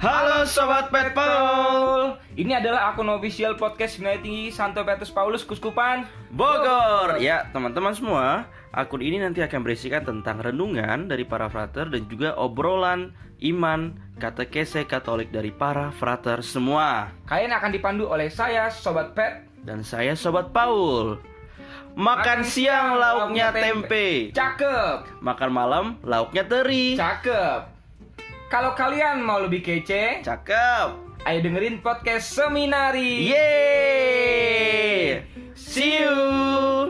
Halo Sobat Pet Paul Ini adalah akun official podcast Binaya Tinggi Santo Petrus Paulus Kuskupan. Bogor Ya teman-teman semua Akun ini nanti akan berisikan tentang renungan dari para frater Dan juga obrolan iman katekese katolik dari para frater semua Kalian akan dipandu oleh saya, Sobat Pet. Dan saya Sobat Paul Makan siang lauknya tempe Cakep, Makan malam lauknya teri cakep. Kalau kalian mau lebih kece, Cakep ayo dengerin podcast Seminari. Yeay See you